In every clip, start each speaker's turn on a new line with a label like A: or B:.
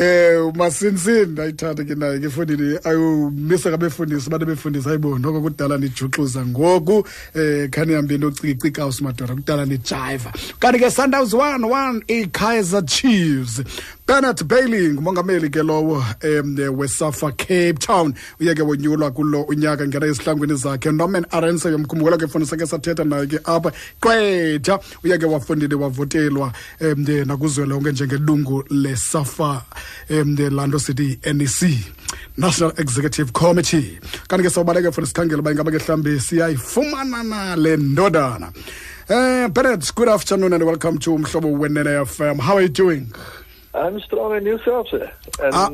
A: eh umasinsini ayithatha ke naye ngefundile ayumisa kabefundisi abantu befundisa hayibo noko kudala nijuxuza ngoku eh khani hambeni ocikicika usimadoda kudala nijiva kanti ke Sundowns 1-1 i-Kaizer Chiefs Bernard Bailey ngumongameli ke lowo um wesafa Cape Town uye ke wonyulwa kulo unyaka ngena esihlangwini zakhe Norman Arense yomkhumbukela ke fundisa ke sathetha naye ke apha gqwetha uye ke wafundile wavotelwa um nakuzwelonke njengelungu lesafa um lanto sithi NEC National Executive Committee kanti ke sawubaleke futhi sikhangele uba ingaba ke mhlawumbi siyayifumana na le ndodana Eh Bernard, good afternoon and welcome to Mhlobo Wenene FM. How are you doing?
B: I'm strong and yourself, sir. And
A: Ah.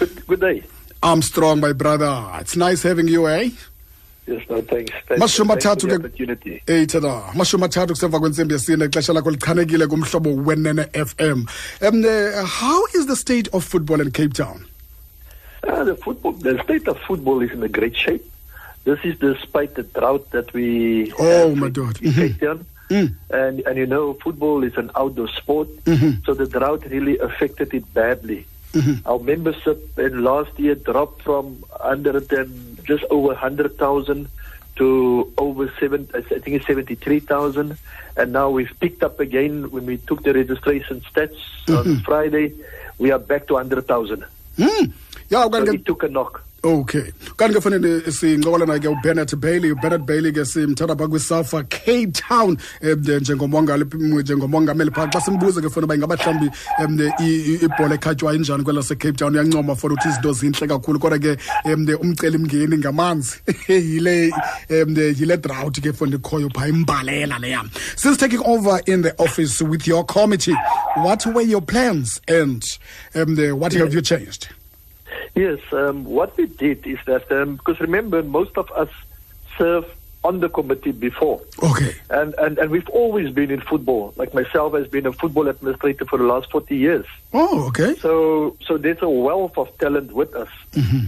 B: good, good day.
A: I'm strong, my brother. It's nice having you, eh?
B: Yes, no, thanks. thanks
A: Mashumi
B: thanks for
A: athathu
B: the
A: ke
B: opportunity.
A: eyi thena amashumi athathu kusemva kwentsimbi yesine ixesha lakho lichanekile kumhlobo wenene fm um eh, how is the state of football in cape town
B: Ah, the football, the state of football is in a great shape. This is despite the drought that we
A: Oh,
B: have
A: my
B: in-
A: God.
B: in
A: Mhm.
B: Cape Town.
A: Mm.
B: And and you know, football is an outdoor sport,
A: Mhm.
B: so the drought really affected it badly.
A: Mm-hmm.
B: Our membership in last year dropped from under and just over hundred thousand to over seven. I think it's seventy three thousand, and now we've picked up again when we took the registration stats
A: Mm-hmm.
B: on Friday. We are back to hundred thousand.
A: Hmm. ya
B: So
A: kanti
B: it
A: ke
B: took a knock.
A: okay kanti ke fanele sincokola naye ke ubernard bailey ubernard bailey ke simthatha phaa kwisafa cape town um njengomongameli njengomongameli phaa xa simbuze ke funa uba ingaba mhlawumbi um i- i- ibhola ekhatywayo injani kwelasecape town uyancoma fona ukuthi izinto zintle kakhulu kodwa ke um umcelimngeni ngamanzi yile um yile drought ke fona ikhoyo phaa imbalela leya since taking over in the office with your committee what were your plans and um what have you changed
B: Yes, um, what we did is that um, because remember most of us serve on the committee before.
A: okay
B: And, and and we've always been in football. Like myself has been a football administrator for the last forty years.
A: oh okay
B: So so there's a wealth of talent with us.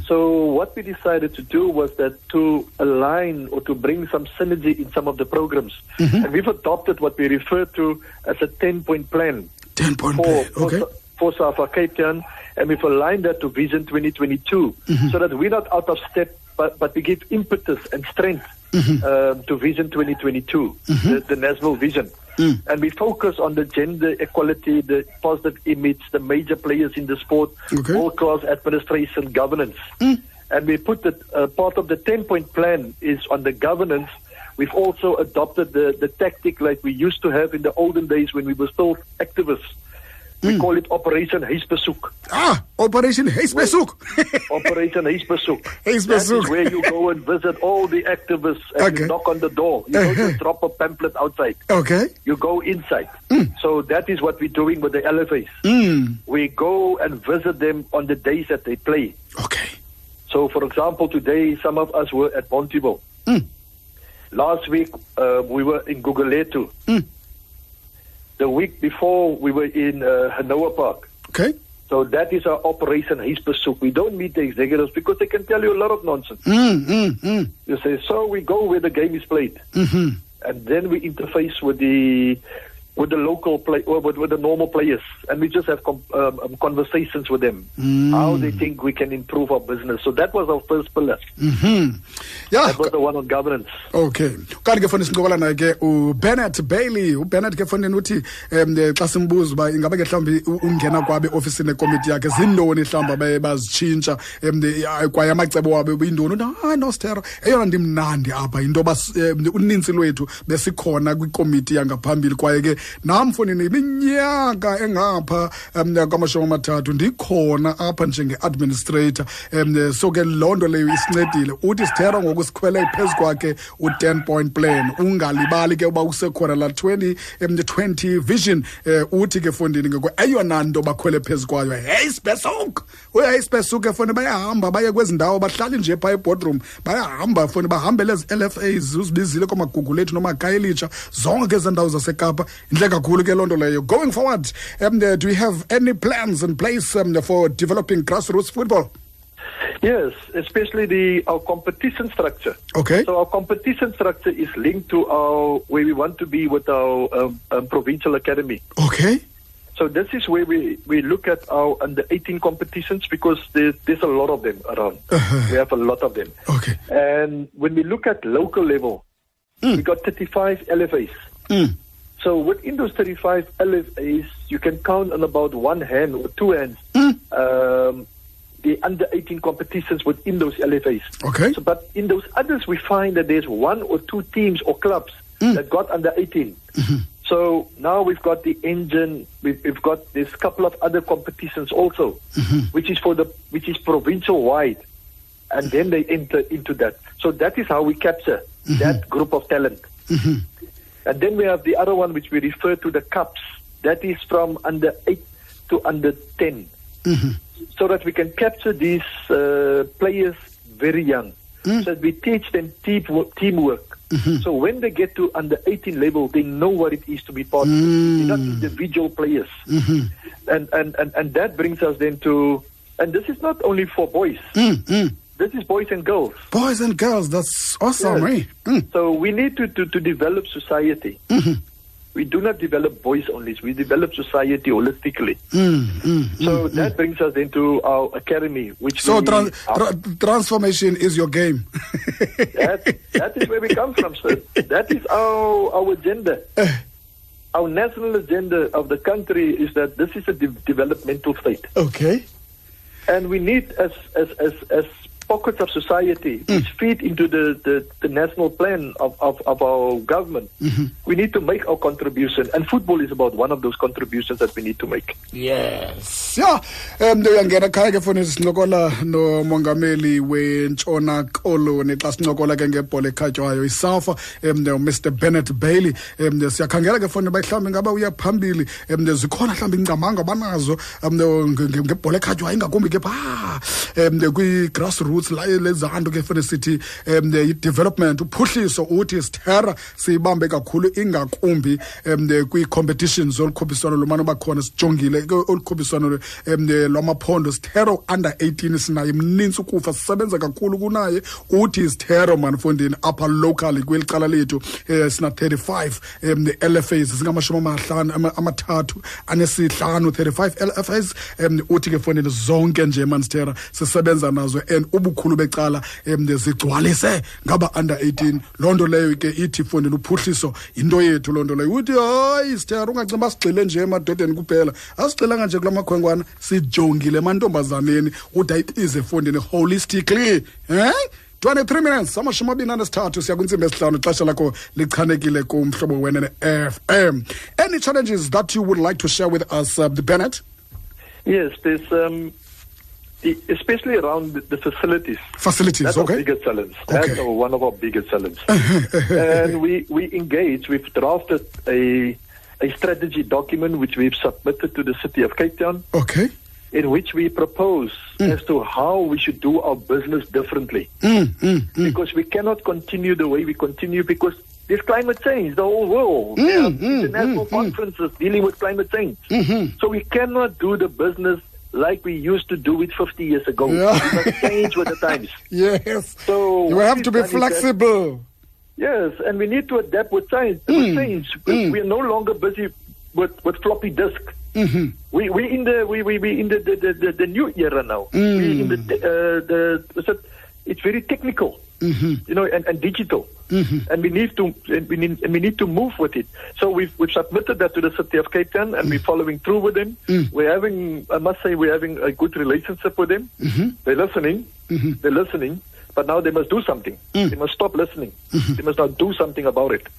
B: So what we decided to do was that to align or to bring some synergy in some of the programs. And we've adopted what we refer to as a ten point plan
A: 10 point
B: for
A: play.
B: for,
A: Okay.
B: for South Africa, Cape Town, and we've aligned that to Vision 2022
A: Mm-hmm.
B: so that we're not out of step, but, but we give impetus and strength
A: Mm-hmm.
B: um, to Vision 2022, the, the national vision.
A: Mm.
B: And we focus on the gender equality, the positive image, the major players in the sport,
A: Okay.
B: all class administration, governance. And we put the uh, part of the 10 point plan is on the governance. We've also adopted the, the tactic like we used to have in the olden days when we were still activists. We call it Operation Huisbesoek.
A: Ah, Operation Haste Besuk.
B: Operation Huisbesoek. That
A: Huisbesoek.
B: is where you go and visit all the activists and
A: Okay.
B: you knock on the door. You don't
A: Uh-huh.
B: just drop a pamphlet outside.
A: okay.
B: You go inside. So that is what we're doing with the LFAs.
A: Mm.
B: We go and visit them on the days that they play.
A: Okay.
B: So, for example, today some of us were at Bontebel.
A: Mm.
B: Last week uh, we were in Guguletu.
A: Mm.
B: The week before we were in uh, Hanoa Park.
A: Okay.
B: So that is our operation his pursuit. We don't meet the executives because they can tell you a lot of nonsense.
A: Mm, mm, mm.
B: You say, so we go where the game is played,
A: hmm
B: and then we interface with the with the local play or with, with the normal players, and we just have com- um, um, conversations with them how they think we can improve our business. So that was our first pillar.
A: hmm Yeah.
B: That was the one on governance.
A: okay kanti ke fondini sincokola naye ke ubernard bailey ubernard ke fondini uthi um eh, xa simbuza uba ingabe ke mhlawumbi u- ungena kwabe eofisini ekomiti yakhe zintoni mhlawumbi abaye bazitshintsha um eh, ah, kwaye amacebo wabo beyintoni uthi hayi nostero eyona nto imnandi apha yinto yoba s- um, unintsi lwethu besikhona kwikomiti yangaphambili kwaye ke nam fondini iminyaka engapha um eh, kwamashumi amathathu ndikhona apha njenge-administrator um eh, so ke loo nto leyo isincedile uthi sithera ngoku sikhwele phezu kwakhe u-10 point plan ungalibali ke uba usekhona la 20 um, 20 vision um uthi ke fondini ngeko eyona nto bakhwele phezu kwayo heyispesuk uyayispesuk efoni bayahamba baye kwezi ndawo bahlali nje phaa eboardroom bayahamba foni bahambele ezi lfas uzibizile kwamagugulethu nomakayelitsha zonke ezi ndawo zasekapa intle kakhulu ke loo nto leyo going forward um, uh, do you have any plans in place um, for developing grassroots football
B: Yes, especially the our competition structure.
A: okay
B: So our competition structure is linked to our where we want to be with our um, um, provincial academy.
A: okay
B: So this is where we, we look at our under 18 competitions because there's, there's a lot of them around. We have a lot of them.
A: Uh-huh. Okay. Hmm.
B: And when we look at local level, we got 35 LFAs.
A: Mm.
B: So within those 35 LFAs, you can count on about one hand or two hands um, the under 18 competitions within those LFAs.
A: Okay.
B: So, but in those others, we find that there's one or two teams or clubs that got under 18. So now we've got the engine. We've, we've got there's a couple of other competitions also, which is for the which is provincial wide, and then they enter into that. So that is how we capture that group of talent. And then we have the other one which we refer to the cups. That is from under 8 to under 10. So that we can capture these uh, players very young. So that we teach them team teamwork. So when they get to under 18 level, they know what it is to be part of it. They're not individual players. And, and, and, and that brings us then to, and this is not only for boys,
A: Mm.
B: this is boys and girls.
A: Boys and girls, that's awesome,
B: Yes.
A: right? Mm.
B: So we need to, to, to develop society.
A: Mm-hmm.
B: We do not develop boys only, we develop society holistically. so that brings us into our academy, which
A: Mm-hmm. So
B: we,
A: tran-
B: our-
A: tra- transformation is your game.
B: that, that is where we come from, sir. That is our, our agenda.
A: Eh,
B: Our national agenda of the country is that this is a de- developmental state.
A: okay.
B: And we need, as, as, as, as pockets of society,
A: Mm.
B: which feed into the, the, the national plan of, of, of our government,
A: Mm-hmm.
B: we need to make our contribution. And football is about one of those contributions that we need to make.
A: yes ya um nto uyangena khaya ke funi sincokola nomongameli wentshona koloni xa sincokola ke ngebhola ekhatywayo isafa um no, mr bennett bailey um no, siyakhangela ke funi uba mhlawumbi ingaba uya phambili um no, zikhona mhlawumbi iingcamango abanazo um no, nge- nge- ngebhola ekhatywayo ingakumbi ke phaa um no, kwi-grass roots lezaa nto ke funi sithi um no, i-development uphuhliso uthi sithera siyibambe kakhulu ingakumbi um no, kwii-competitions olu khuphiswano lumane uba khona sijongile ke olu khuphiswano um eh, lwamaphondo sithero under 18 sinaye mnintsi ukufa sisebenza kakhulu kunaye uthi sithero manifondini apha locally kweli cala lethu um sina 35 um lfas zingamashumi amahlanu ama- amathathu anesihlanu 35 lfas um uthi ke fondini zonke nje manisithera sisebenza nazo and ubukhulu becala um zigcwalise ngaba under 18 loo nto leyo ke ithi fondini uphuhliso yinto yethu loo nto leyo uthi hayi sithera ungacimba sigxile nje emadodeni kuphela asigxilanga nje kula makhwenkwana sijongile emantombazaneni ude ayibize efondini holistically em 23 minutes amashumi abini anesithathu siya kwintsimbi esihlanu ixesha lakho lichanekile kumhlobo wena ne-fm any challenges that you would like to share with us uh, the bennett
B: Yes, there's, um, e- especially around the- the facilities.
A: facilities
B: That's our
A: okay
B: biggest challenge. That's
A: Okay.
B: our, one of our biggest challenges. and we, we engage, we've drafted a, a strategy document which we've submitted to the City of Cape Town
A: okay
B: in which we propose
A: Hmm.
B: as to how we should do our business differently.
A: Mm, Hmm.
B: Because we cannot continue the way we continue because there's climate change, the whole world.
A: Hmm,
B: There are international conferences dealing with climate change.
A: hmm.
B: So we cannot do the business like we used to do it 50 years ago.
A: Yeah.
B: We must change with the times.
A: yes
B: So
A: you
B: what
A: have
B: we've
A: to be
B: done is that-
A: flexible
B: Yes, and we need to adapt with science.
A: Hmm,
B: With science. We- We are no longer busy with, with floppy disk. Mm-hmm. We we in the we we, we in the the, the, the the new era now. We in the te- uh, the what's that? it's very technical, you know, and, and digital, and we need to and we need, and we need to move with it. So we've we've submitted that to the city of Cape Town, and we're following through with them. We're having I must say we're having a good relationship with them. They're listening. They're listening. But now they must do something. They must stop listening. They must now do something about it.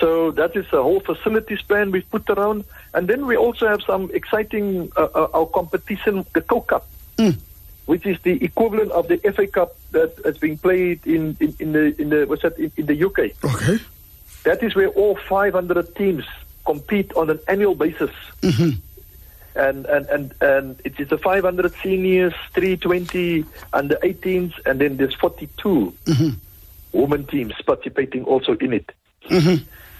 B: So that is a whole facilities plan we've put around. And then we also have some exciting uh, uh, our competition, the Co Cup, which is the equivalent of the FA Cup that has been played in, in, in the in the what's that in, in the UK.
A: okay
B: That is where all 500 teams compete on an annual basis. And, and, and, and it is the 500 seniors, 320 under 18s, and then there's 42 women teams participating also in it.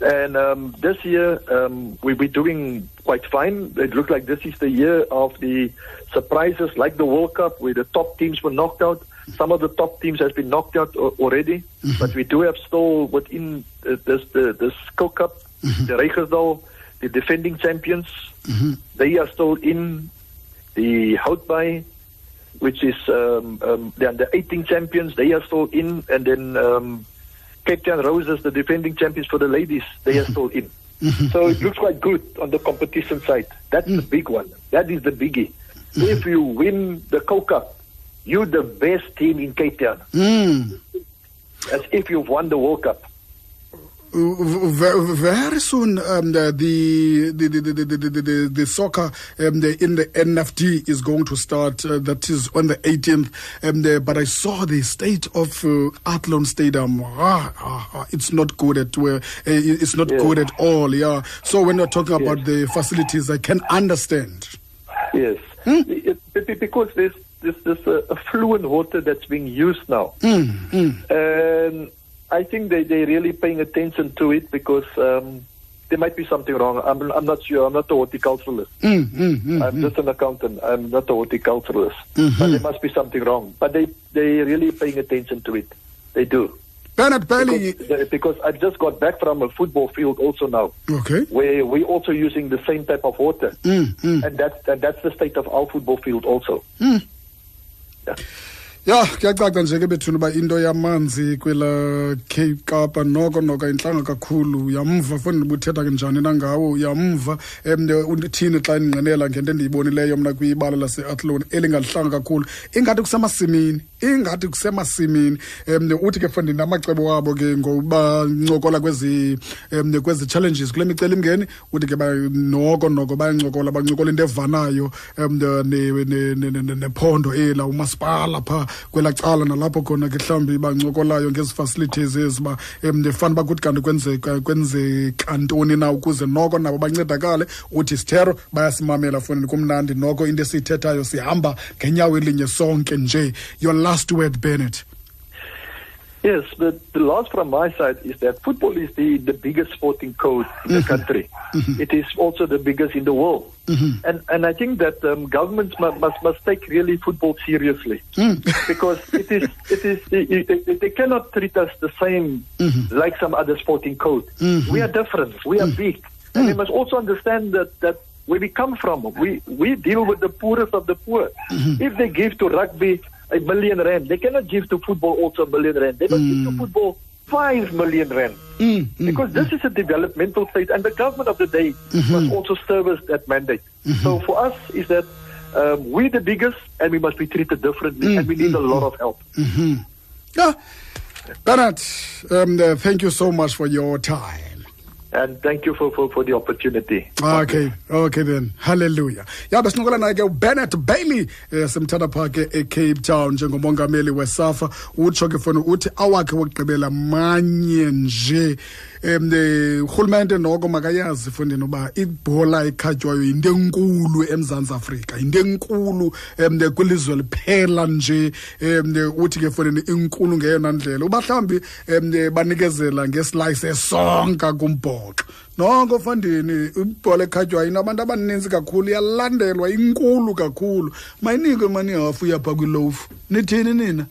B: And um, this year, um, we, we're doing quite fine. It looks like this is the year of the surprises, like the World Cup, where the top teams were knocked out. Some of the top teams has been knocked out al- already, but we do have still within uh, this the, this Skull Cup, the Reichersdal, the defending champions, they are still in the Houtbay, which is um, um, the under 18 champions, they are still in, and then um, Cape Town Roses, the defending champions for the ladies, they are still in. so it looks quite good on the competition side. That's the big one. That is the biggie. if you win the Co Cup, you're the best team in Cape Town,
A: Mm.
B: as if you've won the World Cup.
A: V- v- Very soon, um, the, the, the, the, the, the, the, the, the soccer um, the, in the NFD is going to start. Uh, that is on the 18th. Um, the, but I saw the state of uh, Athlone Stadium. Ah, ah, ah, it's not good at where uh, it's not
B: Yeah.
A: good at all. Yeah. So when you're talking about
B: Yes.
A: the facilities, I can understand.
B: Yes, It- it- it- because there's this this uh, affluent water that's being used now, and I think they they really paying attention to it because um, there might be something wrong. I'm I'm not sure. I'm not a horticulturalist.
A: Mm, mm, mm.
B: I'm just an accountant. I'm not a horticulturalist. But there must be something wrong. But they they really paying attention to it. They do.
A: Bernard Bailey.
B: Because, they- because I've just got back from a football field also now,
A: Okay.
B: where we're also using the same type of water
A: Mm, mm.
B: and that's and that's the state of our football field also.
A: ya kuyacaca nje ke bethuna uba into yamanzi kwela cape kapa noko noko intlanga kakhulu yamva fundi buthetha ke njani nangawo uyamva um uthini xa ndingqinela ngento endiyibonileyo mna kwibala laseathlone elingalihlanga kakhulu ingathi kusemasimini ingathi kusemasimini um uthi ke fundi namacebo wabo ke ngoba ncokola kwezi um kwezi challenges kule micelimngeni uthi ke ba- noko noko bayancokola bancokola into evanayo um ne- ne- ne- ne- ne- nephondo ela umasipala phaa kwela cala nalapho khona ke mhlawumbi bancokolayo ngezi facilities ezi uba um ndifana uba kuthi kanti kwenzeka- kwenzeka ntoni na ukuze noko nabo bancedakale uthi sithero bayasimamela fowunini kumnandi noko into esiyithethayo sihamba ngenyawo elinye sonke nje your last word bennett
B: Yes, the, the last from my side is that football is the, the biggest sporting code in
A: Mm-hmm.
B: the country. It is also the biggest in the world.
A: Mm-hmm.
B: And and I think that um, governments must, must must take really football seriously
A: Mm.
B: because it is it is it, it, they cannot treat us the same
A: Mm-hmm.
B: like some other sporting code. We are different. We are
A: Mm.
B: big, and we must also understand that that. Where we come from, we, we deal with the poorest of the poor. If they give to rugby a million rand. They cannot give to football also a million rand. They must give to football five million rand. Because this is a developmental state, and the government of the day must also service that mandate. So for us, is that um, we're the biggest, and we must be treated differently, and we need a lot of help.
A: yeah Ah, bennett um uh, thank you so much for your time
B: And thank you for, for, for the opportunity.
A: okay okay then hallelujah ya besincokola naye ke ubennet bailey um simthatha phaa ke ecape town njengomongameli wesafa utsho ke fona uthi awakhe wokugqibela manye nje um urhulumente noko makayazi fondini uba ibhola ekhatywayo yinto enkulu emzantsi afrika yinto enkulu um kwilizwe liphela nje um uthi ke fondini inkulu ngeyona ndlela uba mhlawumbi um banikezela ngesilise esonka kumbhoxo nonke ofandeni ibhola ekhatywayo inabantu abaninzi kakhulu iyalandelwa inkulu kakhulu mayinikwe mani ihafu yapha kwilofu nithini nina